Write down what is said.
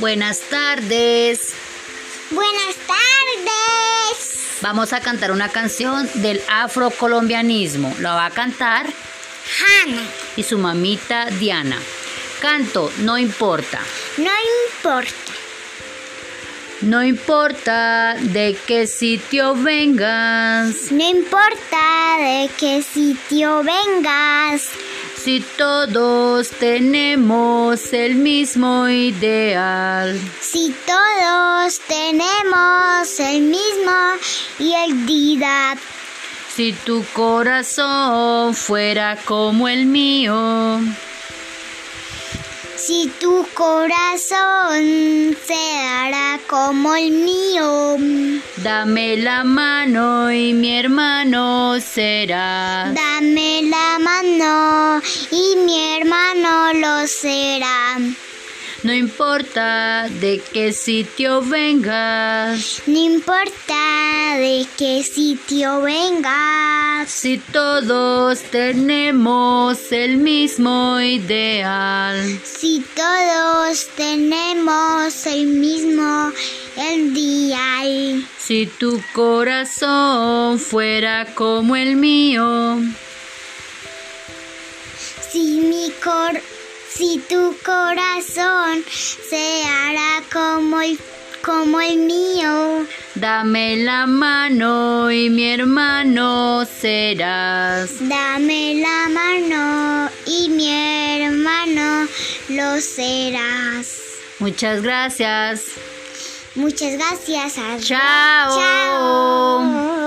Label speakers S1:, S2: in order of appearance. S1: Buenas tardes.
S2: Buenas tardes.
S1: Vamos a cantar una canción del afrocolombianismo. La va a cantar
S2: Hannah,
S1: y su mamita Diana. Canto, no importa.
S2: no importa.
S1: No importa de qué sitio vengas,
S2: No importa de qué sitio vengas.
S1: si todos tenemos el mismo ideal.
S2: Si todos tenemos el mismo y el día.
S1: Si tu corazón fuera como el mío,
S2: Si tu corazón se hará como el mío,
S1: dame la mano y mi hermano será.
S2: dame la mano y mi hermano lo será.
S1: No importa de qué sitio vengas,
S2: No importa de qué sitio vengas.
S1: si todos tenemos el mismo ideal.
S2: Si todos tenemos el mismo el día,
S1: Si tu corazón fuera como el mío,
S2: si mi cor, si tu corazón se hará como el como el mío,
S1: dame la mano y mi hermano serás.
S2: dame la mano y mi hermano lo serás.
S1: Muchas gracias.
S2: Muchas gracias. adiós.
S1: Chao.
S2: Chao.